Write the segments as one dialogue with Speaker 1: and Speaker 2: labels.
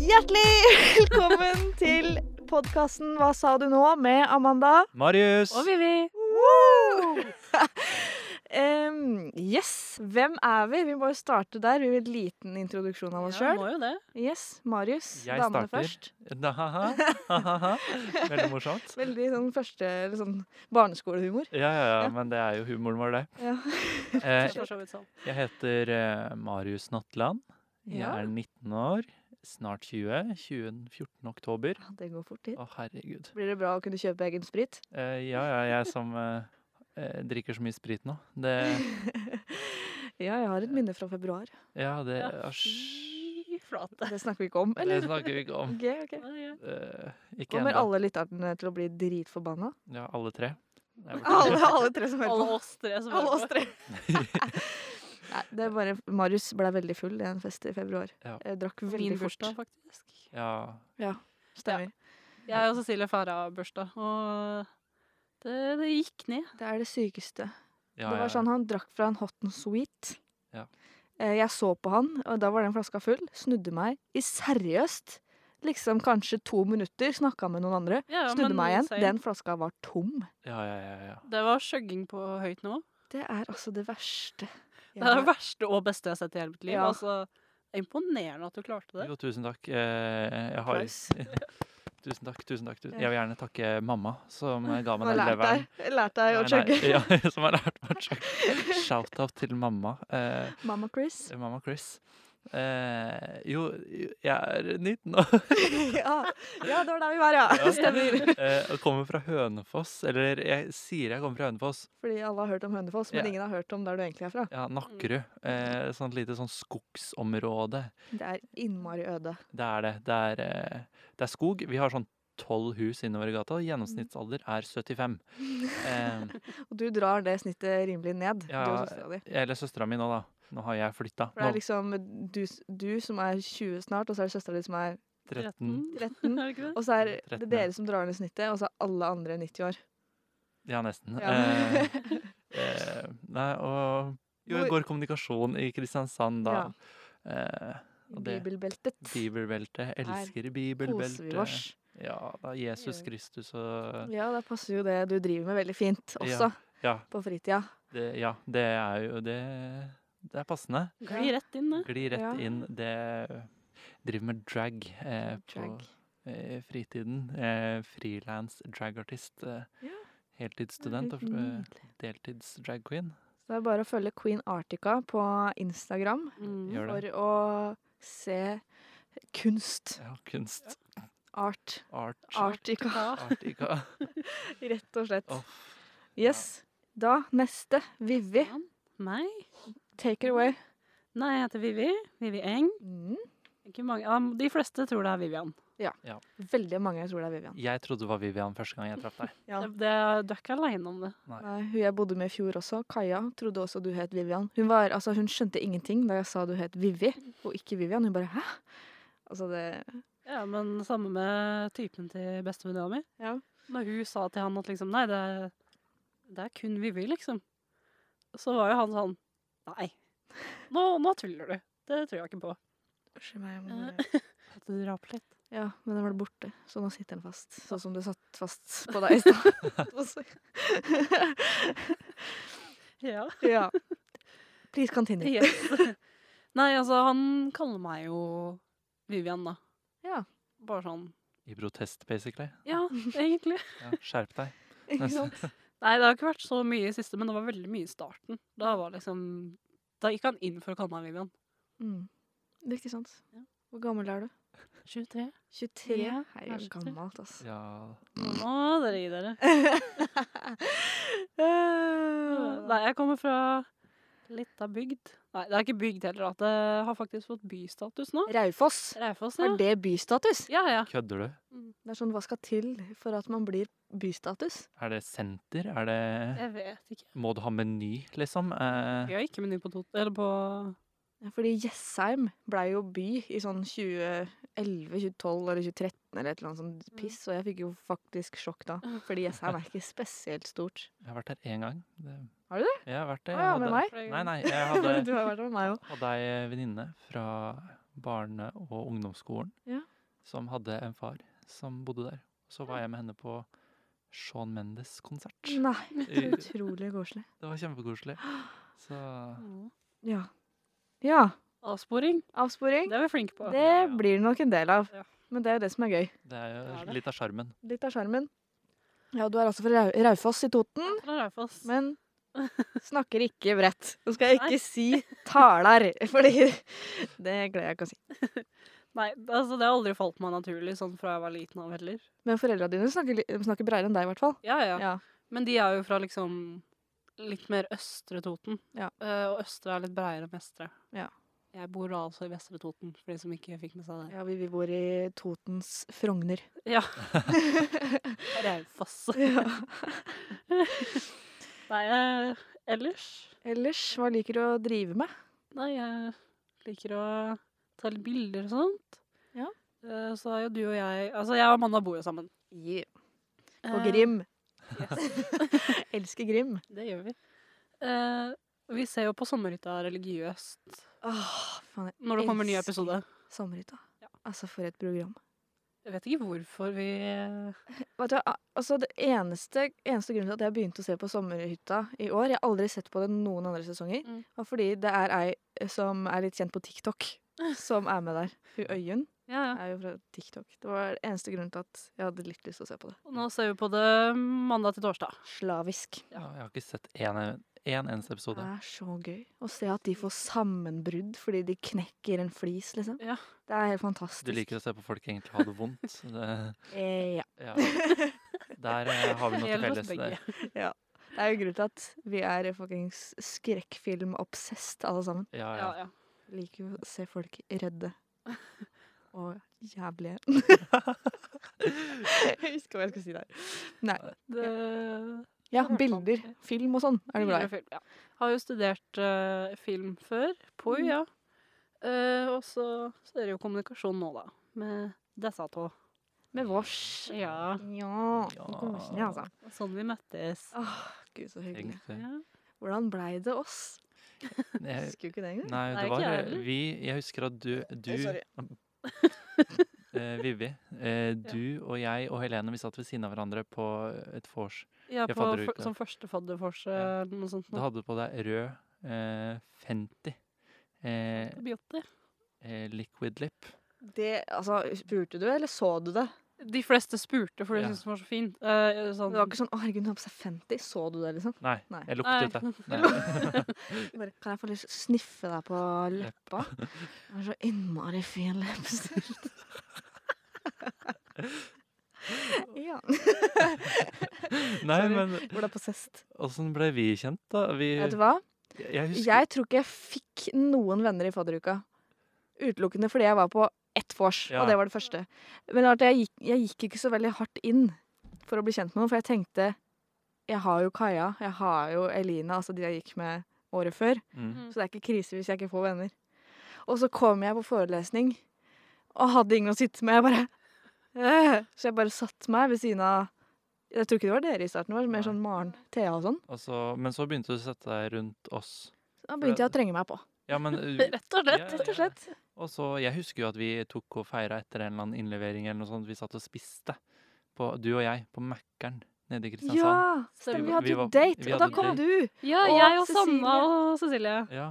Speaker 1: Hjertelig velkommen til podkasten Hva sa du nå? med Amanda.
Speaker 2: Marius!
Speaker 3: Og Vivi.
Speaker 1: Em, yes, hvem er vi? Vi må jo starte der. Vi vil en liten introduksjon av oss
Speaker 3: Ja,
Speaker 1: sjøl.
Speaker 3: må jo det.
Speaker 1: Yes, Marius.
Speaker 2: Jeg
Speaker 1: damene
Speaker 2: starter.
Speaker 1: først.
Speaker 2: Da, ha, ha, ha, ha, ha. Veldig morsomt.
Speaker 1: Veldig sånn første eller sånn barneskolehumor.
Speaker 2: Ja, ja, ja,
Speaker 1: Ja.
Speaker 2: men det er jo humoren vår, det.
Speaker 1: Ja.
Speaker 3: Det
Speaker 2: Eh,
Speaker 3: er for så vidt sånn.
Speaker 2: jeg heter eh, Marius Nattland. Jeg
Speaker 1: Ja.
Speaker 2: er 19 år, snart 20. 20. 14. oktober.
Speaker 1: Ja, Det går fort dit.
Speaker 2: Å, herregud.
Speaker 1: Blir det bra å kunne kjøpe egen sprit?
Speaker 2: Eh, ja, ja, jeg som eh, eh, drikker så mye sprit nå. Det
Speaker 1: Ja, jeg har et minne fra februar.
Speaker 2: Ja, det
Speaker 3: Ja,
Speaker 2: eh, Æsj.
Speaker 3: fy flate.
Speaker 1: Det snakker vi ikke om,
Speaker 2: Det
Speaker 1: eller?
Speaker 2: snakker vi ikke om.
Speaker 1: Ok, ok.
Speaker 3: Ja, ja.
Speaker 2: Eh, ikke
Speaker 1: Kommer
Speaker 2: ennå.
Speaker 1: alle lytterne til å bli dritforbanna?
Speaker 2: Ja, alle tre. Det er vel
Speaker 1: Alle, alle tre som hører
Speaker 3: Alle
Speaker 1: på.
Speaker 3: oss tre som
Speaker 1: Alle
Speaker 3: hører
Speaker 1: oss
Speaker 3: på.
Speaker 1: tre. Nei, det er bare Marius ble veldig full i en fest i februar.
Speaker 2: Ja.
Speaker 1: Jeg drakk
Speaker 3: Min
Speaker 1: veldig fort.
Speaker 3: bursdag, faktisk.
Speaker 2: Ja.
Speaker 1: Stemmer.
Speaker 3: Jeg og Cecilie feira bursdag, og det, det gikk ned.
Speaker 1: Det er det sykeste.
Speaker 2: Ja,
Speaker 1: det
Speaker 2: ja.
Speaker 1: var sånn Han drakk fra en hot and sweet.
Speaker 2: Ja.
Speaker 1: Eh, Jeg så på han, og da var den flaska full. Snudde meg i seriøst liksom kanskje to minutter, snakka med noen andre.
Speaker 3: Ja, ja,
Speaker 1: Snudde
Speaker 3: men
Speaker 1: meg igjen.
Speaker 3: same.
Speaker 1: Den flaska var tom.
Speaker 2: ja, ja, ja, ja.
Speaker 3: Det var skjøgging på høyt nivå.
Speaker 1: Det er altså det verste.
Speaker 3: Det er det
Speaker 1: jeg-
Speaker 3: verste og beste jeg har sett i hele mitt liv.
Speaker 1: Ja.
Speaker 3: Altså, det er imponerende at du klarte det.
Speaker 2: Jo, tusen takk. Eh, jeg har
Speaker 1: Applaus.
Speaker 2: Tusen takk. tusen takk. Tusen.
Speaker 1: Ja.
Speaker 2: Jeg vil gjerne takke mamma, som eh, ga
Speaker 1: Og
Speaker 2: meg den
Speaker 1: lært
Speaker 2: leveren.
Speaker 1: deg, lært deg å
Speaker 2: Nei, nei,
Speaker 1: chugge.
Speaker 2: Ja, som har lært meg å chugge. Shout-out til mamma. Eh,
Speaker 1: Mamma Chris.
Speaker 2: mamma Chris. Eh, jo, jo, jeg er 19 år
Speaker 1: ja. ja, det var der vi var, ja.
Speaker 2: Ja.
Speaker 1: Stemmer.
Speaker 2: eh, og kommer fra Hønefoss. Eller jeg sier jeg kommer fra Hønefoss.
Speaker 1: Fordi alle har hørt om Hønefoss, men
Speaker 2: Ja.
Speaker 1: ingen har hørt om der du egentlig er fra.
Speaker 2: Ja, Nakkerud.
Speaker 1: Mm.
Speaker 2: Eh, sånt lite sånn skogsområde.
Speaker 1: Det er innmari øde.
Speaker 2: Det er det. Det er, eh, det er skog. Vi har sånn tolv hus innover i gata. Gjennomsnittsalder er 75. Eh,
Speaker 1: Og du drar det snittet rimelig ned, du
Speaker 2: Ja,
Speaker 1: og søstera di.
Speaker 2: Eller søstera mi nå, da. Nå har jeg flytta.
Speaker 1: For det er liksom du, du som er 20 snart, og så er det søstera di som er
Speaker 2: 13
Speaker 3: 13.
Speaker 1: 13.
Speaker 3: Er det ikke det?
Speaker 1: Og så er det
Speaker 2: Tretten, ja.
Speaker 1: dere som drar ned snittet, og så er alle andre 90 år.
Speaker 2: Ja, nesten.
Speaker 1: Ja.
Speaker 2: Eh, eh, nei, og Jo, jeg
Speaker 1: Hvor-
Speaker 2: går kommunikasjon i Kristiansand, da. Eh, og det-
Speaker 1: Bibelbeltet.
Speaker 2: bibelbeltet. Elsker
Speaker 1: Koser vi oss.
Speaker 2: bibelbeltet. Ja, da Jesus Kristus og
Speaker 1: Ja, da passer jo det du driver med, veldig fint også.
Speaker 2: Ja. Ja,
Speaker 1: På fritida.
Speaker 2: det, ja, det er jo det Det er passende.
Speaker 3: Gli rett inn, det.
Speaker 2: Gli rett
Speaker 1: Mm. Ja.
Speaker 2: inn. Det driver med drag eh, på
Speaker 1: Drag.
Speaker 2: eh, fritiden. Eh, Frilans dragartist. Eh,
Speaker 1: Ja.
Speaker 2: Heltidsstudent og eh,
Speaker 1: Nydelig.
Speaker 2: deltids-dragqueen.
Speaker 1: Så det er bare å følge Queen Artica på Instagram
Speaker 3: Mm.
Speaker 2: Gjør det.
Speaker 1: for å se kunst.
Speaker 2: Ja, kunst.
Speaker 1: Art.
Speaker 2: Art.
Speaker 1: Artica,
Speaker 3: Ja.
Speaker 2: Artica.
Speaker 1: rett og slett.
Speaker 2: Åh,
Speaker 1: Yes. Da neste. Vivi,
Speaker 3: Ja. Meg?
Speaker 1: take it away.
Speaker 3: Nei, jeg heter Vivi. Vivi Eng.
Speaker 1: Mm.
Speaker 3: Ikke mange. Ja, de fleste tror det er Vivian.
Speaker 1: Veldig mange tror det er Vivian.
Speaker 2: Jeg trodde det var Vivian første gang jeg traff deg.
Speaker 1: Ja.
Speaker 3: Det, det, du er ikke aleine om det.
Speaker 1: Nei, hun jeg bodde med i fjor også, Kaja, trodde også du het Vivian. Hun, var, altså, hun skjønte ingenting da jeg sa du het Vivi og ikke Vivian. Hun bare 'hæ?' Altså det
Speaker 3: Ja, men samme med typen til bestevenninna mi.
Speaker 1: Ja.
Speaker 3: Når hun sa til han at liksom, nei, det er, det er kun Vivi, liksom. Så var jo han sånn, nei, nå, nå tuller du. Det tror jeg ikke på.
Speaker 1: Unnskyld meg. jeg må
Speaker 3: Eh.
Speaker 1: bare-
Speaker 3: At du drar på litt.
Speaker 1: Ja, men den var borte, så nå sitter den fast. Sånn som det satt fast på deg i stad. Også.
Speaker 3: Ja.
Speaker 1: ja. Please continue.
Speaker 3: Yes. nei, altså, han kaller meg jo Vivian, da.
Speaker 1: Ja.
Speaker 3: Bare sånn,
Speaker 2: I protest, basically.
Speaker 3: ja, egentlig.
Speaker 2: Ja, skjerp deg.
Speaker 1: Ikke sant?
Speaker 3: Nei, det har ikke vært så mye i siste, men det var veldig mye i starten. Da var liksom, da gikk han inn for å kalle meg Vivian.
Speaker 1: Mm. Det er ikke sant.
Speaker 3: Ja.
Speaker 1: Hvor gammel er du?
Speaker 3: 23.
Speaker 1: 23?
Speaker 3: Ja,
Speaker 1: Herregud,
Speaker 3: jeg er 23.
Speaker 1: gammelt, altså.
Speaker 2: Ja,
Speaker 3: Nå må dere gi dere. Nei,
Speaker 1: Eh, Nei.
Speaker 3: jeg kommer fra lita bygd. Nei, det er ikke bygd heller. At det har faktisk fått bystatus nå.
Speaker 1: Raufoss.
Speaker 3: Raufoss, ja.
Speaker 1: Er det bystatus?
Speaker 3: Ja, ja.
Speaker 2: kødder du?
Speaker 1: Det er sånn, Hva skal til for at man blir bystatus?
Speaker 2: Er det senter? Er det
Speaker 3: Jeg vet ikke.
Speaker 2: Må du ha meny, liksom? Eh,
Speaker 3: Vi har ikke meny på, tot eller på
Speaker 1: Fordi Jessheim blei jo by i sånn 2011, 2012 eller 2013 eller et eller annet sånt piss, og jeg fikk jo faktisk sjokk da. Fordi Jessheim er ikke spesielt stort.
Speaker 2: Jeg har vært der én gang. Det-
Speaker 1: Har du det?
Speaker 2: Jeg har vært der.
Speaker 1: Å ja, med meg?
Speaker 2: Nei, nei. Jeg hadde,
Speaker 1: du har vært med meg òg.
Speaker 2: hadde ei venninne fra barne- og ungdomsskolen
Speaker 1: Ja.
Speaker 2: som hadde en far som bodde der. Så var jeg med henne på Sean Mendes-konsert.
Speaker 1: Nei, så
Speaker 2: I-
Speaker 1: utrolig koselig.
Speaker 2: Det var kjempekoselig. Så
Speaker 3: Mm.
Speaker 1: Ja. Ja.
Speaker 3: Avsporing,
Speaker 1: Avsporing.
Speaker 3: det er vi flinke på.
Speaker 1: Det blir det nok en del av.
Speaker 3: Ja.
Speaker 1: Men det er jo det som er gøy.
Speaker 2: det er
Speaker 3: Det er
Speaker 2: jo
Speaker 3: det.
Speaker 2: litt av sjarmen.
Speaker 1: Litt av skjermen. Ja, du er altså fra Rau- Raufoss i Toten,
Speaker 3: Fra Raufoss.
Speaker 1: men snakker ikke bredt. Nå skal jeg
Speaker 3: Nei.
Speaker 1: ikke si taler, fordi det gleder jeg ikke å si.
Speaker 3: Nei, altså det har aldri falt meg naturlig sånn fra jeg var liten av heller.
Speaker 1: Men foreldra dine snakker, li- snakker bredere enn deg, i hvert fall.
Speaker 3: Ja, ja.
Speaker 1: Ja.
Speaker 3: Men de er jo fra liksom litt mer østre Toten.
Speaker 1: Ja.
Speaker 3: Eh, og østre er litt breiere enn vestre.
Speaker 1: Ja.
Speaker 3: Jeg bor da altså i vestre Toten, for de som ikke fikk med seg det.
Speaker 1: Ja, vi, vi bor i Totens Frogner.
Speaker 3: Ja. Raufoss.
Speaker 1: ja.
Speaker 3: Nei, eh, ellers
Speaker 1: Ellers, hva liker du å drive med?
Speaker 3: Nei, jeg liker å ta litt bilder og sånt.
Speaker 1: Ja.
Speaker 3: Eh, så er jo du og jeg Altså, jeg og Amanda bor jo sammen.
Speaker 1: På
Speaker 3: Eh,
Speaker 1: Grim.
Speaker 3: yes,
Speaker 1: Elsker Grim.
Speaker 3: det gjør vi. Eh, vi ser jo på Sommerhytta religiøst
Speaker 1: Åh, faen, jeg
Speaker 3: når det kommer en ny
Speaker 1: elsker
Speaker 3: episode.
Speaker 1: Sommerhytta.
Speaker 3: Ja.
Speaker 1: Altså, for et program.
Speaker 3: Jeg vet ikke hvorfor vi eh,
Speaker 1: Vet du, hva, altså det eneste, eneste grunnen til at jeg begynte å se på Sommerhytta i år, jeg har aldri sett på det noen andre sesonger,
Speaker 3: Mm.
Speaker 1: var fordi det er ei som er litt kjent på TikTok, som er med der. Hun Øyunn
Speaker 3: Ja, ja.
Speaker 1: er jo fra TikTok. Det var den eneste grunnen til at jeg hadde litt lyst til å se på det.
Speaker 3: Og nå ser vi på det mandag til torsdag.
Speaker 1: Slavisk.
Speaker 3: Ja.
Speaker 2: Ja, Jeg har ikke sett én en, en eneste episode.
Speaker 1: Det er så gøy å se at de får sammenbrudd fordi de knekker en flis, liksom.
Speaker 3: Ja.
Speaker 1: Det er helt fantastisk.
Speaker 2: Du liker å se på folk egentlig ha det vondt. Det,
Speaker 1: Eh, ja.
Speaker 2: ja. Der eh, har vi noe til
Speaker 3: Gjelder
Speaker 2: felles.
Speaker 3: oss begge.
Speaker 2: Det.
Speaker 1: Det er jo grunnen til at vi er fuckings skrekkfilm-obsessed, alle sammen.
Speaker 2: Ja, ja.
Speaker 3: Ja, ja.
Speaker 1: liker jo å se folk redde. Og jævlige. jeg husker hva jeg skulle si der.
Speaker 3: Det
Speaker 1: Ja, bilder, film og sånn er du glad i.
Speaker 3: Film, ja. Har jo studert eh, film før, på
Speaker 1: Mm.
Speaker 3: UiA. Eh, og så studerer jo kommunikasjon nå, da. Med disse to.
Speaker 1: Med vårs.
Speaker 3: Ja.
Speaker 1: Ja. Koselig, altså.
Speaker 3: Sånn vi møttes.
Speaker 1: Åh, gud, så hyggelig.
Speaker 2: Egentlig.
Speaker 3: Ja.
Speaker 1: Hvordan blei det oss?
Speaker 2: Jeg,
Speaker 1: Husker jo ikke det engang.
Speaker 2: nei,
Speaker 3: Nei,
Speaker 2: det
Speaker 3: ikke
Speaker 2: var
Speaker 3: jeg
Speaker 2: eh,
Speaker 3: heller.
Speaker 2: vi Jeg husker at du, du
Speaker 1: Eh, sorry.
Speaker 2: eh, Vivi, eh, du og jeg og Helene, vi satt ved siden av hverandre på et vors.
Speaker 3: Ja,
Speaker 2: Jeg
Speaker 3: på,
Speaker 2: fadder ut
Speaker 3: for,
Speaker 2: det.
Speaker 3: som første fadderforse
Speaker 2: Ja.
Speaker 3: eller noe sånt.
Speaker 2: Du hadde på deg rød eh, 50 eh,
Speaker 3: Antibiotika.
Speaker 2: eh, liquid lip.
Speaker 1: Det, altså, spurte du, eller så du det?
Speaker 3: De fleste spurte, for de
Speaker 2: Ja.
Speaker 3: syntes den var så fin. Eh,
Speaker 1: Det
Speaker 3: sånn,
Speaker 1: var ikke sånn 'Å, herregud, hun har på seg 50'. Så du det, liksom?
Speaker 2: Nei,
Speaker 1: Nei.
Speaker 2: jeg
Speaker 3: Nei.
Speaker 2: luktet det. Nei.
Speaker 1: Bare, kan jeg få lyst til å sniffe deg på leppa? Det er så innmari fin leppestift. ja.
Speaker 2: Nei,
Speaker 1: Sorry.
Speaker 2: men
Speaker 1: Hvor det er på sest.
Speaker 2: åssen ble vi kjent, da? Vi,
Speaker 1: Vet du hva?
Speaker 2: jeg Eh, husker
Speaker 1: Jeg tror ikke jeg fikk noen venner i fadderuka. Utelukkende fordi jeg var på ett vors,
Speaker 2: Ja.
Speaker 1: og det var det første. Men det var at jeg, gikk, jeg gikk ikke så veldig hardt inn for å bli kjent med noen, for jeg tenkte jeg har jo Kaja, jeg har jo Elina, altså de jeg gikk med året før.
Speaker 2: mm.
Speaker 1: Så det er ikke krise hvis jeg ikke får venner. Og så kom jeg på forelesning og hadde ingen å sitte med. Jeg bare øh. Så jeg bare satte meg ved siden av Jeg tror ikke det var dere i starten, det var mer
Speaker 2: Nei.
Speaker 1: sånn Maren, Thea og sånn.
Speaker 2: Og så- altså, men så begynte du å sette deg rundt oss.
Speaker 1: Så Da begynte jeg å trenge meg på.
Speaker 2: Ja, men uh,
Speaker 3: Rett og slett.
Speaker 2: Ja,
Speaker 1: Rett
Speaker 2: ja.
Speaker 1: og slett.
Speaker 2: Og så, Jeg husker jo at vi tok og feira etter en eller annen innlevering. eller noe sånt. Vi satt og spiste, på, du og jeg, på Mækkern nede i Kristiansand.
Speaker 1: Ja! Stemmer,
Speaker 3: Vi
Speaker 1: vi
Speaker 3: var-
Speaker 1: hadde
Speaker 2: vi
Speaker 1: jo
Speaker 2: var-
Speaker 1: date,
Speaker 2: vi
Speaker 1: og da
Speaker 2: hadde
Speaker 1: kom
Speaker 2: date.
Speaker 1: du!
Speaker 3: Ja,
Speaker 1: Og
Speaker 3: jeg og
Speaker 1: Cecilie.
Speaker 3: Sanna og Cecilie.
Speaker 2: Ja.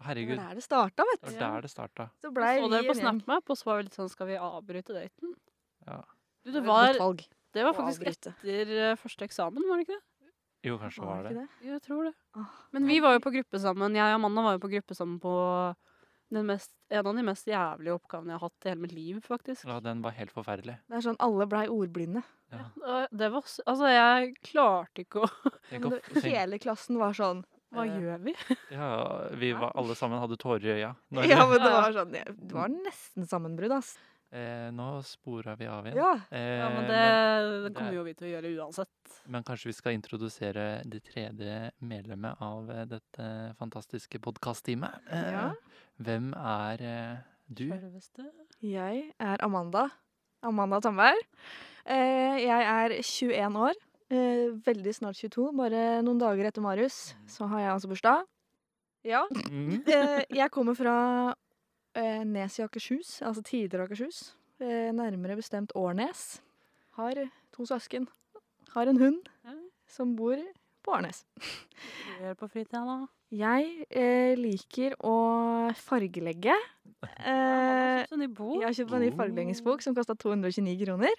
Speaker 1: Det
Speaker 2: Herregud.
Speaker 1: var der det starta, vet du.
Speaker 2: Det var
Speaker 3: Ja.
Speaker 2: der det
Speaker 1: Så
Speaker 2: starta.
Speaker 3: Så
Speaker 1: blei vi
Speaker 3: dere på
Speaker 1: en gjeng.
Speaker 3: SnapMap, og så var vi litt sånn Skal vi avbryte daten?
Speaker 2: Ja.
Speaker 3: Du,
Speaker 1: Det
Speaker 3: det,
Speaker 1: var et
Speaker 3: var,
Speaker 1: godt valg.
Speaker 3: det var
Speaker 1: å
Speaker 3: faktisk
Speaker 1: avbryte.
Speaker 3: etter eh, første eksamen, var det ikke det?
Speaker 2: Jo, kanskje det
Speaker 1: Var det
Speaker 2: var det.
Speaker 1: ikke det?
Speaker 3: Jo, Jeg tror det.
Speaker 1: Åh,
Speaker 3: Men vi var jo på gruppe sammen. Jeg og Amanda var jo på gruppe sammen på den mest, en av de mest jævlige oppgavene jeg har hatt i hele mitt liv, faktisk.
Speaker 2: Ja, den var helt forferdelig.
Speaker 1: Det er sånn alle blei ordblinde.
Speaker 2: Ja.
Speaker 3: Og Det var, s- altså, jeg klarte ikke å
Speaker 2: Tenk
Speaker 1: Men
Speaker 2: å-
Speaker 1: det-
Speaker 2: tenk-
Speaker 1: Hele klassen var sånn.
Speaker 3: Hva
Speaker 1: eh,
Speaker 3: gjør vi?
Speaker 2: Ja, vi var alle sammen hadde tårer i øya. Når-
Speaker 1: Ja, men det
Speaker 3: Ja.
Speaker 1: var sånn ja, Det var nesten sammenbrudd, ass.
Speaker 2: Eh, nå spora vi av igjen.
Speaker 1: Ja.
Speaker 2: Eh,
Speaker 3: Ja,
Speaker 2: men,
Speaker 3: men
Speaker 2: det
Speaker 3: det, det
Speaker 2: er-
Speaker 3: kommer jo vi til å gjøre uansett.
Speaker 2: men kanskje vi skal introdusere det tredje medlemmet av eh, dette fantastiske podkast-teamet. Eh,
Speaker 1: Ja.
Speaker 2: Hvem er eh, du?
Speaker 3: Sjølveste.
Speaker 1: Jeg er Amanda. Amanda Tandberg. Eh, Jeg er 21 år. eh, Veldig snart 22. Bare noen dager etter Marius så har jeg altså bursdag. Ja.
Speaker 2: Mm.
Speaker 1: eh, Jeg kommer fra eh, Nes i Akershus, altså tidligere Akershus. eh, Nærmere bestemt Årnes. Har to søsken. Har en hund
Speaker 3: Ja.
Speaker 1: som bor på Årnes.
Speaker 3: Hva gjør du på fritida da?
Speaker 1: Jeg eh, liker å fargelegge. Eh,
Speaker 3: Sånn i bo.
Speaker 1: Jeg har kjøpt meg en ny
Speaker 2: Oh.
Speaker 1: fargeleggingsbok som kosta 229 kroner.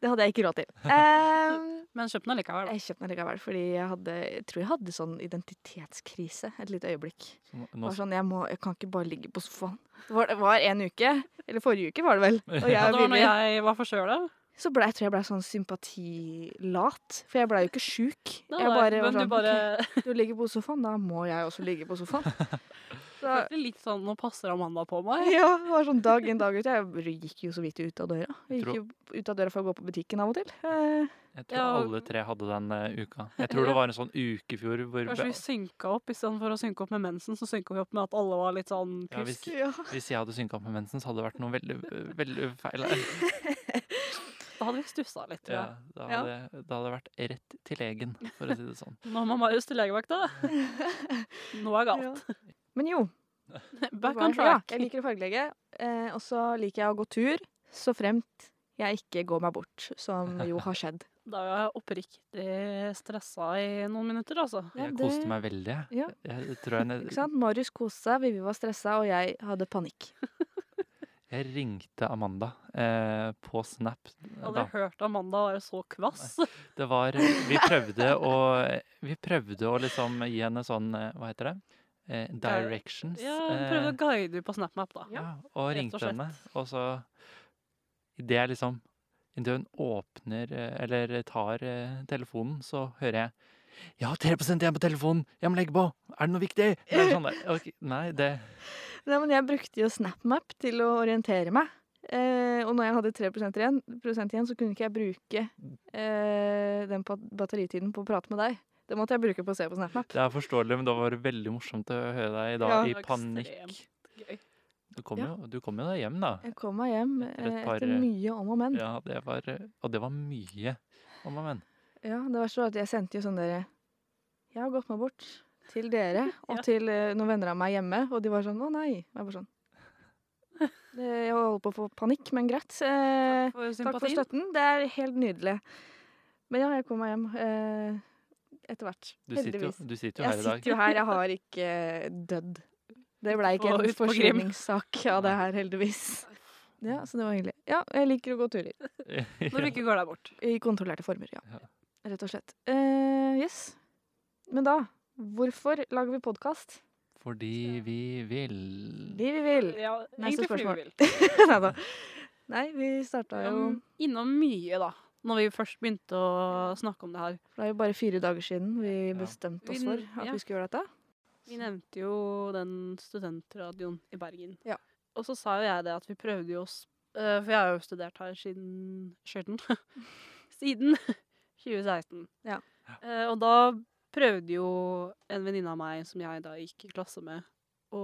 Speaker 1: Det hadde jeg ikke råd til. Ehm,
Speaker 3: Men kjøp den allikevel, da.
Speaker 1: jeg kjøpte den likevel fordi jeg, hadde, jeg tror jeg hadde sånn identitetskrise et lite øyeblikk.
Speaker 2: Så nå-
Speaker 1: Det
Speaker 2: Nå,
Speaker 1: var sånn, jeg, må, jeg kan ikke bare ligge på sofaen. Det var, det var en uke, eller forrige uke var det vel. Og jeg,
Speaker 3: Ja, det var når
Speaker 1: ville-
Speaker 3: jeg var forkjøla.
Speaker 1: Så ble, jeg tror jeg ble sånn sympatilat, for jeg ble jo ikke sjuk.
Speaker 3: Nei,
Speaker 1: Jeg
Speaker 3: nei,
Speaker 1: bare var
Speaker 3: Men
Speaker 1: sånn,
Speaker 3: du bare
Speaker 1: «Ok, du ligger på sofaen, da må jeg også ligge på sofaen. Så,
Speaker 3: følte litt sånn Nå passer Amanda på meg.
Speaker 1: Ja, det var sånn dag inn, dag ut. Jeg gikk jo så vidt ut av døra. Jeg
Speaker 2: Jeg
Speaker 1: gikk jo ut av døra for å gå på butikken av og til. Eh,
Speaker 2: jeg tror
Speaker 3: Ja.
Speaker 2: alle tre hadde den eh, uka. Jeg tror det var en sånn uke i fjor hvor
Speaker 3: Kanskje vi synka opp istedenfor å synke opp med mensen, så synka vi opp med at alle var litt sånn
Speaker 2: Ja, hvis-
Speaker 3: pjusk.
Speaker 1: ja.
Speaker 2: Hvis jeg hadde synka opp med mensen, så hadde det vært noe veldig, veldig feil.
Speaker 3: Da hadde vi stussa litt, tror
Speaker 2: Ja,
Speaker 3: jeg.
Speaker 2: da,
Speaker 1: Ja.
Speaker 2: hadde, da hadde det vært rett til legen, for å si det sånn.
Speaker 3: Nå må Marius til legevakta. Noe er galt.
Speaker 1: Men jo.
Speaker 3: Back
Speaker 1: hva-
Speaker 3: on track.
Speaker 1: Ja, jeg liker å fargelegge. Eh, og så liker jeg å gå tur, så fremt jeg ikke går meg bort, som jo har skjedd.
Speaker 3: Da var jeg oppriktig stressa i noen minutter, altså.
Speaker 1: Ja,
Speaker 2: Jeg
Speaker 1: det-
Speaker 2: koste meg veldig. jeg.
Speaker 1: Ja.
Speaker 2: Jeg tror jeg,
Speaker 1: Ikke sant? Marius koste seg, Vivi var stressa, og jeg hadde panikk.
Speaker 2: jeg ringte Amanda eh, på Snap.
Speaker 3: Jeg hadde
Speaker 2: Da.
Speaker 3: hørt Amanda være så kvass.
Speaker 2: Det var eh, Vi prøvde å eh, Vi prøvde å liksom gi henne sånn eh, Hva heter det? Eh, directions.
Speaker 3: Ja, hun prøvde å guide henne på SnapMap, da.
Speaker 2: eh, ja, og
Speaker 3: rett og
Speaker 2: ringte
Speaker 3: slett.
Speaker 2: henne, og så Idet jeg liksom Idet hun åpner eh, eller tar eh, telefonen, så hører jeg jeg har 3 igjen på telefonen! Jeg må legge på! Er det noe viktig? Det er sånn der, ok, nei, det
Speaker 1: Nei, men jeg brukte jo SnapMap til å orientere meg. Eh, og når jeg hadde 3 igjen, prosent igjen, så kunne ikke jeg bruke eh, den pat- batteritiden på å prate med deg. Det måtte jeg bruke på å se på SnapMap.
Speaker 2: Det er forståelig, men det var veldig morsomt å høre deg i dag
Speaker 1: Ja.
Speaker 2: i
Speaker 3: Det var
Speaker 2: panikk.
Speaker 3: gøy.
Speaker 2: Du kom,
Speaker 1: Ja.
Speaker 2: jo, du kom jo deg hjem, da.
Speaker 1: Jeg kom meg hjem
Speaker 2: Etter et
Speaker 1: eh,
Speaker 2: par,
Speaker 1: etter
Speaker 2: eh,
Speaker 1: mye om og men. Ja.
Speaker 2: Ja, det var, og det var mye. Å, men, men.
Speaker 1: det var så at jeg sendte jo sånn dere Jeg har gått meg bort til dere og
Speaker 3: Ja.
Speaker 1: til eh, noen venner av meg hjemme, og de var sånn Å nei. Og jeg bare sånn Det- Jeg holder på å få panikk, men greit. Eh,
Speaker 3: Takk for
Speaker 1: takk for
Speaker 3: sympatien.
Speaker 1: støtten. Det er helt nydelig. Men ja, jeg kom meg hjem. Eh, etter hvert.
Speaker 2: Du, sitter jo,
Speaker 1: Heldigvis.
Speaker 2: du sitter jo
Speaker 1: Jeg
Speaker 2: her i dag.
Speaker 1: sitter jo her. Jeg har ikke eh, dødd. Det blei ikke
Speaker 3: Ut
Speaker 1: en
Speaker 3: på- ut på Grim.
Speaker 1: forsvinningssak av det her, heldigvis. Ja, Så det var hyggelig. Ja, jeg liker å gå turer.
Speaker 3: Når du ikke går deg bort.
Speaker 1: I kontrollerte former, ja.
Speaker 2: Ja.
Speaker 1: Rett og slett. Eh, yes. Men da, hvorfor lager vi podkast?
Speaker 2: Fordi vi vil
Speaker 1: Det vi vil.
Speaker 3: Ja,
Speaker 1: Neste
Speaker 3: egentlig fordi vi
Speaker 1: spørsmål.
Speaker 3: vil.
Speaker 1: Neida. Nei, vi starta jo
Speaker 3: Um, Innom mye, da. Når vi først begynte å snakke om det her.
Speaker 1: Det er jo bare fire dager siden vi
Speaker 2: Ja.
Speaker 1: bestemte oss
Speaker 3: Vi-
Speaker 1: for at
Speaker 3: ja.
Speaker 1: vi skulle gjøre dette.
Speaker 3: Vi nevnte jo den studentradioen i Bergen.
Speaker 1: Ja.
Speaker 3: Og så sa jo jeg det at vi prøvde jo oss eh, For jeg har jo studert her siden Siden, siden 2016.
Speaker 1: Ja.
Speaker 3: Eh, og da prøvde jo en venninne av meg som jeg da gikk i klasse med, å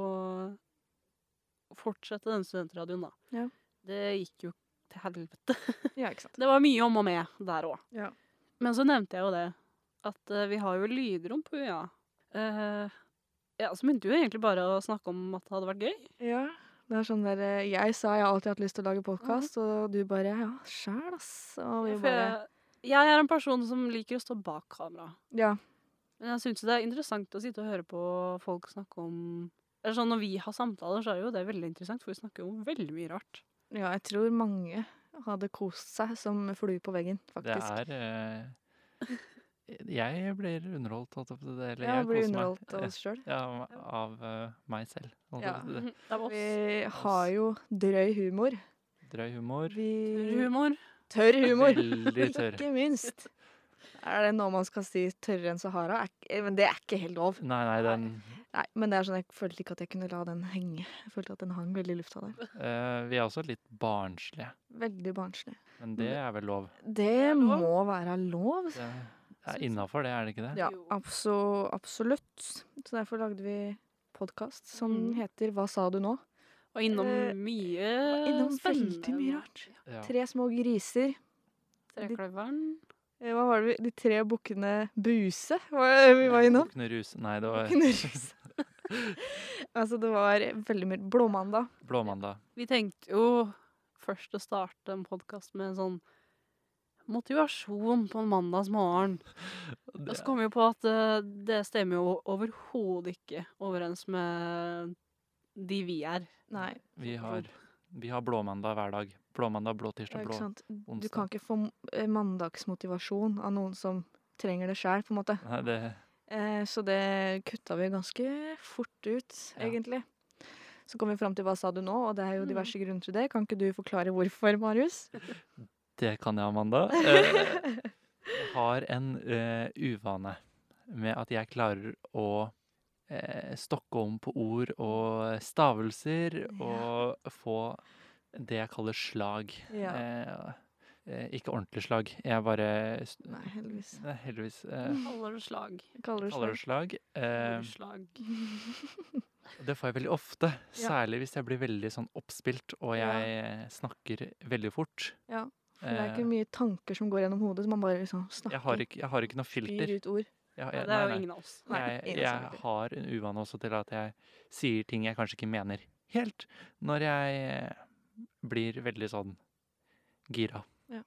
Speaker 3: fortsette den studentradioen, da.
Speaker 1: Ja.
Speaker 3: Det gikk jo til helvete.
Speaker 1: Ja, ikke sant.
Speaker 3: Det var mye om og med der òg.
Speaker 1: Ja.
Speaker 3: Men så nevnte jeg jo det, at eh, vi har jo lydrom på UiA. Eh, ja, så begynte vi jo egentlig bare å snakke om at det hadde vært gøy.
Speaker 1: Ja. Det er sånn der, eh, Jeg sa jeg har alltid hatt lyst til å lage podkast, og du bare ja, sjæl, ass. Og vi
Speaker 3: For
Speaker 1: bare
Speaker 3: jeg, jeg er en person som liker å stå bak kamera.
Speaker 1: Ja.
Speaker 3: Men jeg syns det er interessant å sitte og høre på folk snakke om eller sånn, Når vi har samtaler, så er jo det veldig interessant, for vi snakker jo om veldig mye rart.
Speaker 1: ja, jeg tror mange hadde kost seg som flue på veggen,
Speaker 2: Det
Speaker 1: faktisk.
Speaker 2: er eh, Jeg blir underholdt, holdt jeg på å si. Eller
Speaker 1: Ja,
Speaker 2: jeg
Speaker 1: blir
Speaker 2: koser meg.
Speaker 1: underholdt av oss sjøl.
Speaker 2: Ja, av eh, meg selv. holdt jeg
Speaker 1: Ja.
Speaker 2: på å si.
Speaker 3: Det er oss.
Speaker 1: Vi har jo drøy humor.
Speaker 2: Drøy humor.
Speaker 1: Vi
Speaker 3: Humor.
Speaker 1: Tørr humor.
Speaker 2: Veldig tørr.
Speaker 1: Ikke minst. Er det noe man skal si tørrere enn Sahara? Er, ikke- men det er ikke helt lov.
Speaker 2: Nei, nei, den
Speaker 1: Nei, men det er sånn, jeg følte ikke at jeg kunne la den henge. Jeg følte at den hang veldig i lufta der.
Speaker 2: eh, Vi er også litt barnslige,
Speaker 1: Veldig barnslig.
Speaker 2: men det
Speaker 1: Mm.
Speaker 2: er vel lov.
Speaker 1: Det
Speaker 3: lov.
Speaker 1: må være lov.
Speaker 2: Det er innafor, det, er det ikke det?
Speaker 1: Ja,
Speaker 3: Jo.
Speaker 1: abso, absolutt. Så derfor lagde vi podkast som
Speaker 3: Mhm.
Speaker 1: heter Hva sa du nå?
Speaker 3: Og innom
Speaker 1: Eh,
Speaker 3: mye
Speaker 1: Innom
Speaker 3: spennende.
Speaker 1: veldig mye rart.
Speaker 2: Ja.
Speaker 1: Tre små griser.
Speaker 3: Trekløveren.
Speaker 1: Eh, Hva var det vi De tre bukkene Buse var, vi var innom.
Speaker 2: Bukkene Rus. Nei, det var
Speaker 1: Bukkene Ruse. altså, det var veldig mye Blåmandag.
Speaker 2: Blåmandag.
Speaker 3: Vi tenkte jo først å starte en podkast med en sånn motivasjon på en mandagsmorgen. Og så kom vi jo på at eh, det stemmer jo overhodet ikke overens med de vi er.
Speaker 1: Nei,
Speaker 2: Vi har, vi har blåmandag hver dag. Blåmandag, blå tirsdag,
Speaker 1: det er
Speaker 2: blå
Speaker 1: ikke sant. Du
Speaker 2: onsdag.
Speaker 1: kan ikke få eh, mandagsmotivasjon av noen som trenger det sjæl, på en måte.
Speaker 2: Nei, det,
Speaker 1: Eh, så det kutta vi ganske fort ut,
Speaker 2: Ja.
Speaker 1: egentlig. Så kom vi fram til hva sa du nå, og det er jo diverse grunner til det. Kan ikke du forklare hvorfor, Marius?
Speaker 2: det kan jeg, Amanda. Eh, Jeg har en eh, uvane med at jeg klarer å eh, stokke om på ord og stavelser og få det jeg kaller slag.
Speaker 1: Ja.
Speaker 2: Eh, eh, ikke ordentlig slag. Jeg bare s-
Speaker 1: Nei, heldigvis.
Speaker 2: Nei, heldigvis eh,
Speaker 3: Kaller det slag.
Speaker 1: Jeg kaller det
Speaker 2: kaller det
Speaker 1: slag.
Speaker 2: slag. Eh,
Speaker 3: Ordslag.
Speaker 2: Det får jeg veldig ofte,
Speaker 1: Ja.
Speaker 2: særlig hvis jeg blir veldig sånn oppspilt og
Speaker 1: Ja.
Speaker 2: jeg eh, snakker veldig fort.
Speaker 1: Ja, for det er
Speaker 2: Eh,
Speaker 1: ikke mye tanker som går gjennom hodet, så man bare liksom snakker.
Speaker 2: jeg har ikke, jeg har ikke noe filter.
Speaker 1: Spyr ut ord.
Speaker 2: Jeg,
Speaker 3: Ja,
Speaker 2: jeg,
Speaker 3: det er jo
Speaker 2: nei, nei.
Speaker 3: ingen av oss.
Speaker 1: Nei,
Speaker 2: Jeg,
Speaker 1: ingen som har
Speaker 2: jeg har en uvane også til at jeg sier ting jeg kanskje ikke mener helt, når jeg eh, blir veldig sånn gira.
Speaker 1: Ja.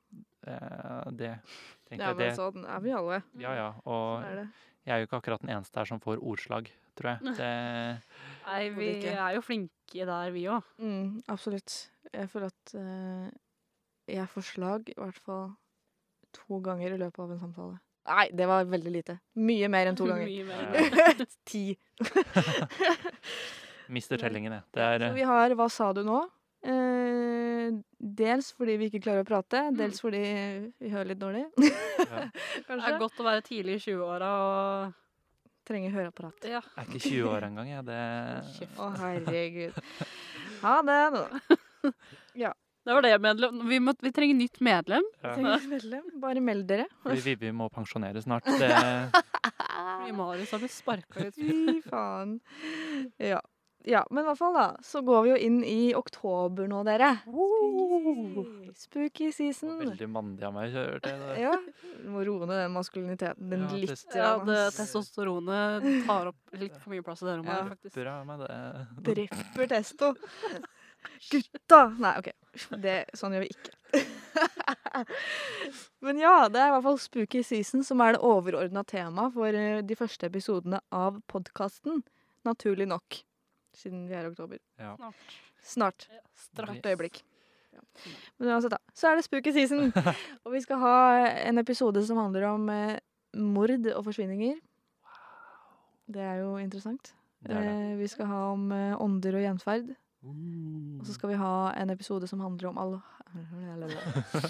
Speaker 2: Eh, Det
Speaker 1: Ja,
Speaker 2: tenker
Speaker 1: men
Speaker 2: jeg det.
Speaker 1: sånn er vi alle.
Speaker 2: Ja, ja.
Speaker 1: Sånn
Speaker 2: Og
Speaker 1: er det.
Speaker 2: jeg er jo ikke akkurat den eneste her som får ordslag, tror jeg. Det,
Speaker 3: Nei, vi
Speaker 1: Overhodet ikke.
Speaker 3: er jo flinke der, vi òg.
Speaker 1: Mm, absolutt. Jeg føler at eh, jeg får slag i hvert fall to ganger i løpet av en samtale. Nei, det var veldig lite. Mye mer enn to ganger.
Speaker 3: Mye mer.
Speaker 2: Ja.
Speaker 1: Ti.
Speaker 2: mister tellingen, jeg. Det
Speaker 1: Ja,
Speaker 2: er
Speaker 1: så
Speaker 2: eh,
Speaker 1: vi har Hva sa du nå? Eh, dels fordi vi ikke klarer å prate, dels fordi vi hører litt dårlig.
Speaker 2: eh, ja.
Speaker 3: Det er
Speaker 1: Kanskje.
Speaker 3: godt å være tidlig i 20-åra og
Speaker 1: Trenger høreapparat.
Speaker 3: ja.
Speaker 2: Jeg er ikke 20 år engang, jeg. Det
Speaker 3: Kjeft.
Speaker 1: Å, herregud. Ha det, da.
Speaker 3: Det var det medlem. Vi, må, vi trenger nytt medlem.
Speaker 2: ja.
Speaker 1: Trenger medlem. Bare meld dere.
Speaker 2: Fordi Vivi må pensjonere snart.
Speaker 1: Sånn.
Speaker 2: Det,
Speaker 3: Fordi Marius har blitt sparka ut.
Speaker 1: Fy faen. Ja. ja. Men i hvert fall, da, så går vi jo inn i oktober nå, dere. Spooky season.
Speaker 2: veldig mandig av meg, hørte jeg. det.
Speaker 1: Ja. Du må roe ned den maskuliniteten din
Speaker 2: Ja,
Speaker 1: litt.
Speaker 2: test-
Speaker 3: Ja,
Speaker 1: grann,
Speaker 3: det,
Speaker 1: ass.
Speaker 3: testosteronet tar opp litt for mye plass i det rommet.
Speaker 1: Ja.
Speaker 3: her, faktisk.
Speaker 2: Bra med det.
Speaker 1: Dreper testo. Gutta! Nei, OK. Det, sånn gjør vi ikke. Men ja, det er i hvert fall Spooky season som er det overordna temaet for eh, de første episodene av podkasten. Naturlig nok. Siden vi er i oktober.
Speaker 2: Ja.
Speaker 3: Snart.
Speaker 1: Snart.
Speaker 3: Ja,
Speaker 1: Hvert
Speaker 3: Straks.
Speaker 1: øyeblikk. Ja. Men uansett, da. Så er det Spooky season. Og vi skal ha en episode som handler om eh, mord og forsvinninger. Det er jo interessant.
Speaker 2: Det er det.
Speaker 1: Eh, vi skal ha om eh, ånder og gjenferd. Eh, Og så
Speaker 2: Uh.
Speaker 1: skal vi ha en episode som handler om all...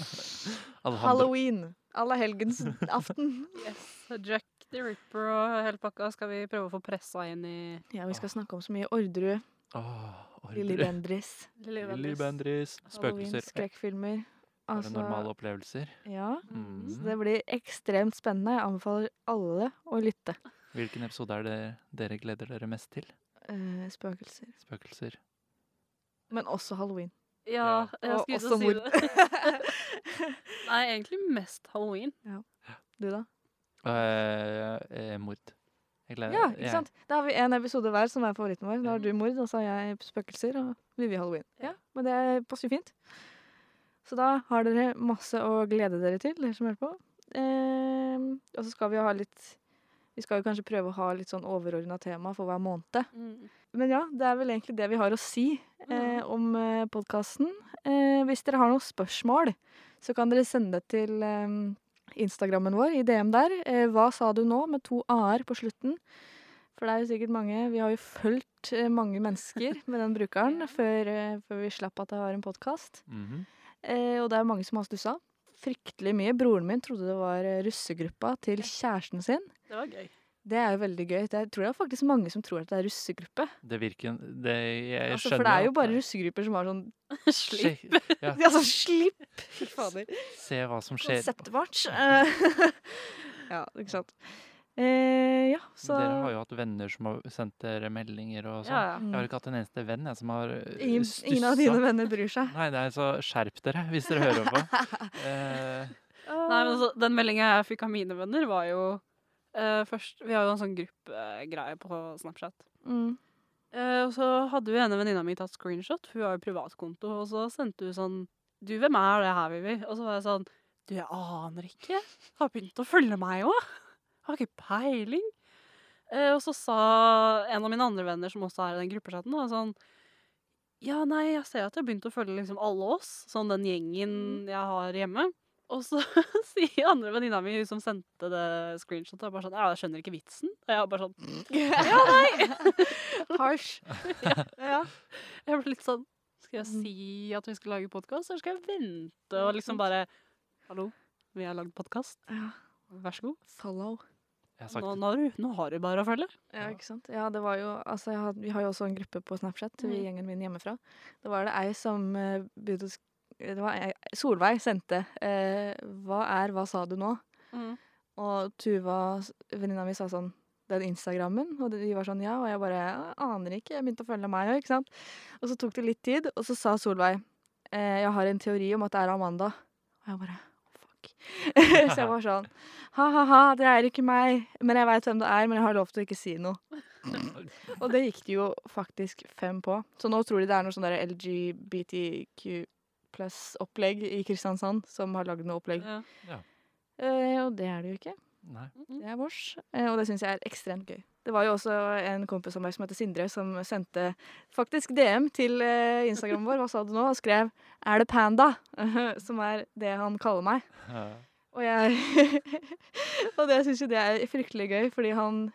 Speaker 2: Alhambra.
Speaker 1: Halloween. Alle helgens aften.
Speaker 3: Yes. Jack the Ripper og hele pakka skal vi prøve å få pressa inn i
Speaker 1: Ja, vi skal snakke om så mye Orderud,
Speaker 2: Åh,
Speaker 1: Lilly
Speaker 2: ordre.
Speaker 1: Bendriss,
Speaker 3: Lille
Speaker 2: Lilly Bendriss.
Speaker 3: Bendriss.
Speaker 1: Halloween, Altså-
Speaker 2: Spøkelser.
Speaker 1: skrekkfilmer.
Speaker 2: Paranormale opplevelser.
Speaker 1: ja.
Speaker 2: Mm.
Speaker 1: Så det blir ekstremt spennende. Jeg anbefaler alle å lytte.
Speaker 2: Hvilken episode er det dere gleder dere mest til?
Speaker 1: Eh, spøkelser.
Speaker 2: Spøkelser.
Speaker 1: Men også halloween.
Speaker 3: Ja,
Speaker 2: Ja.
Speaker 3: jeg
Speaker 1: Og
Speaker 3: skulle
Speaker 1: også
Speaker 3: til
Speaker 1: mord.
Speaker 3: å si det. Nei, egentlig mest halloween.
Speaker 1: du, da?
Speaker 2: Eh, eh, mord. Jeg
Speaker 1: eh,
Speaker 2: gleder
Speaker 1: Ja, ikke
Speaker 2: jeg-
Speaker 1: sant? Da har vi en episode hver som er favoritten vår. Da har du mord, og så har jeg spøkelser, og Vivi halloween. Ja, Men det passer jo fint. Så da har dere masse å glede dere til, dere som hører på. Ehm, og så skal vi jo ha litt Vi skal jo kanskje prøve å ha litt sånn overordna tema for hver måned. Men ja, det er vel egentlig det vi har å si eh, om eh, podkasten. Eh, hvis dere har noen spørsmål, så kan dere sende det til eh, Instagrammen vår i DM der. Eh, hva sa du nå, med to a-er på slutten. For det er jo sikkert mange Vi har jo fulgt eh, mange mennesker med den brukeren
Speaker 3: Ja.
Speaker 1: før, eh, før vi slapp at det var en podkast.
Speaker 2: Mhm.
Speaker 1: Eh, og det er mange som har stussa. fryktelig mye. Broren min trodde det var eh, russegruppa til kjæresten sin.
Speaker 3: Det var gøy.
Speaker 1: Det er jo veldig gøy. Det er, jeg tror det er faktisk mange som tror at det er russegruppe.
Speaker 2: Det virker det, Jeg
Speaker 1: Altså,
Speaker 2: skjønner
Speaker 1: for det er jo bare
Speaker 2: at-
Speaker 1: russegrupper som har sånn
Speaker 3: Slik.
Speaker 2: Sjekk- Ja,
Speaker 1: Altså, slipp! Fy fader.
Speaker 2: se hva
Speaker 1: Sånn
Speaker 2: som skjer.
Speaker 1: Konseptmatch. Eh, ja, ikke sant. Eh, ja, så
Speaker 2: Dere har jo hatt venner som har sendt dere meldinger og sånn.
Speaker 3: Ja, ja.
Speaker 2: Jeg
Speaker 1: Mm.
Speaker 2: har ikke hatt en eneste venn jeg, som har øh,
Speaker 1: ingen,
Speaker 2: stussa.
Speaker 1: ingen av dine venner bryr seg.
Speaker 2: Nei, nei, så skjerp dere hvis dere hører på. Eh,
Speaker 1: Ah,
Speaker 3: Nei, men altså, Den meldinga jeg fikk av mine venner, var jo eh, først Vi har jo en sånn gruppegreie på Snapchat.
Speaker 1: Mm.
Speaker 3: Eh, og så hadde jo ene venninna mi tatt screenshot, for hun har jo privatkonto, og så sendte hun sånn Du, hvem er det her, Vivi? Og så var jeg sånn Du, jeg aner ikke. Har begynt å følge meg òg. Har ikke peiling. Eh, og så sa en av mine andre venner, som også er i den gruppechatten, da, sånn Ja, nei, jeg ser at jeg har begynt å følge liksom alle oss, sånn den gjengen jeg har hjemme. Og så sier andre venninna mi, hun som sendte det screenshotet, bare sånn Ja, jeg skjønner ikke vitsen. Og jeg bare sånn
Speaker 1: ja, nei! Harsh. Ja.
Speaker 3: Jeg ble litt sånn Skal jeg
Speaker 1: Mm.
Speaker 3: si at vi skal lage podkast, eller skal jeg vente
Speaker 1: Ja,
Speaker 3: og
Speaker 1: ikke
Speaker 3: liksom
Speaker 1: sant.
Speaker 3: bare Hallo, vi har lagd podkast.
Speaker 1: ja.
Speaker 3: Vær så god.
Speaker 1: Follow.
Speaker 2: jeg har sagt
Speaker 3: Nå, nå, har du, nå har du bare å følge.
Speaker 1: Ja,
Speaker 2: Ja.
Speaker 1: ikke sant? Ja, det var jo, altså, jeg had, vi har jo også en gruppe på Snapchat, vi
Speaker 3: Mm.
Speaker 1: gjengen min hjemmefra. Da var det ei som eh, begynte å sk- det var ei, Solveig sendte eh, 'Hva er Hva sa du nå?'
Speaker 3: Mm.
Speaker 1: Og Tuva, s- venninna mi, sa sånn den Instagrammen, og de var sånn ja, og jeg bare «Jeg aner ikke, jeg begynte å følge meg òg, ikke sant. Og så tok det litt tid, og så sa Solveig eh, jeg har en teori om at det er Amanda. Og jeg bare fuck. så jeg var sånn ha-ha-ha, det er ikke meg, men jeg veit hvem det er, men jeg har lov til å ikke si noe. og det gikk det jo faktisk fem på. Så nå tror de det er noe sånn der LGBTQ pluss-opplegg i Kristiansand som har lagd noe opplegg.
Speaker 3: Ja.
Speaker 1: Eh, og det er det jo ikke.
Speaker 2: Nei.
Speaker 1: Det er vårs, eh, og det syns jeg er ekstremt gøy. Det var jo også en kompis av meg som heter Sindre, som sendte faktisk DM til eh, Instagramen vår, hva sa du nå, og skrev 'Er det panda?' som er det han kaller meg.
Speaker 2: Eh,
Speaker 1: Og jeg Og det syns jo det er fryktelig gøy, fordi han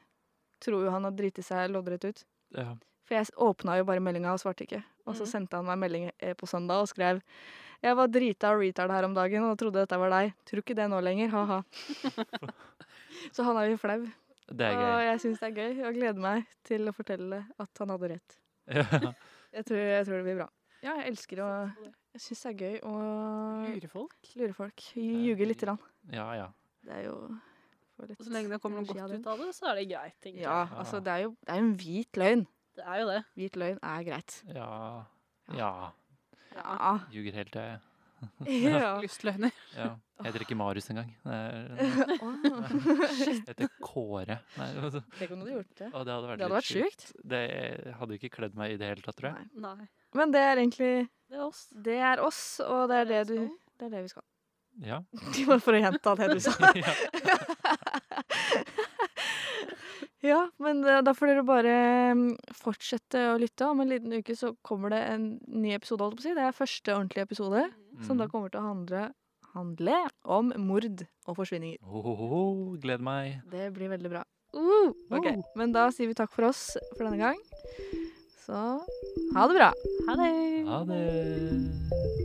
Speaker 1: tror jo han har driti seg loddrett ut.
Speaker 2: ja.
Speaker 1: For jeg s- åpna jo bare meldinga og svarte ikke. Og så
Speaker 3: Mhm.
Speaker 1: sendte han meg melding eh, på søndag og skrev 'Jeg var drita og retard her om dagen og trodde dette var deg. Tror ikke det nå lenger, ha-ha'. så han er jo flau.
Speaker 2: Det er
Speaker 1: Og
Speaker 2: gøy.
Speaker 1: jeg syns det er gøy, og gleder meg til å fortelle at han hadde rett.
Speaker 2: Ja.
Speaker 1: Jeg tror, jeg tror det blir bra. Ja, jeg elsker å Jeg syns det er gøy å
Speaker 3: Lurefolk.
Speaker 1: lure folk. Ljuge lite grann.
Speaker 2: ja, ja.
Speaker 1: Det er jo får litt
Speaker 3: Og så lenge det kommer noe
Speaker 1: energi av
Speaker 3: godt ut av det, så er det greit. tenker jeg.
Speaker 1: Ja, altså, det er jo det er jo en hvit løgn.
Speaker 3: Det er jo det.
Speaker 1: Hvit løgn er greit.
Speaker 2: Ja. Ja.
Speaker 1: Ja.
Speaker 2: Ljuger helt til jeg
Speaker 1: ja.
Speaker 3: Lystløgner.
Speaker 2: ja. Jeg heter ikke Marius engang. Det er-
Speaker 1: Åh.
Speaker 2: Jeg heter Kåre. Nei, altså.
Speaker 1: Tenk om du hadde gjort det.
Speaker 2: Å, det hadde vært,
Speaker 1: Det hadde
Speaker 2: litt
Speaker 1: vært sjukt.
Speaker 2: Det hadde ikke kledd meg i det hele tatt, tror jeg.
Speaker 1: Nei.
Speaker 3: Nei.
Speaker 1: Men det er egentlig
Speaker 3: Det er oss.
Speaker 1: Det er oss, og det er det du
Speaker 3: Skal.
Speaker 1: Det er det vi skal.
Speaker 2: Ja.
Speaker 1: Bare for å gjenta det du sa.
Speaker 2: ja.
Speaker 1: Ja, men eh, da får dere bare mm, fortsette å lytte. Om en liten uke så kommer det en ny episode. holdt jeg på å si. Det er første ordentlige episode, som da
Speaker 2: Mm.
Speaker 1: kommer til å handle, handle om mord og forsvinninger.
Speaker 2: Ho, ho, ho. Gleder meg.
Speaker 1: Det blir veldig bra. Uh, ok,
Speaker 2: Uh.
Speaker 1: Men da sier vi takk for oss for denne gang. Så ha det bra.
Speaker 3: Ha det.
Speaker 2: Ha det.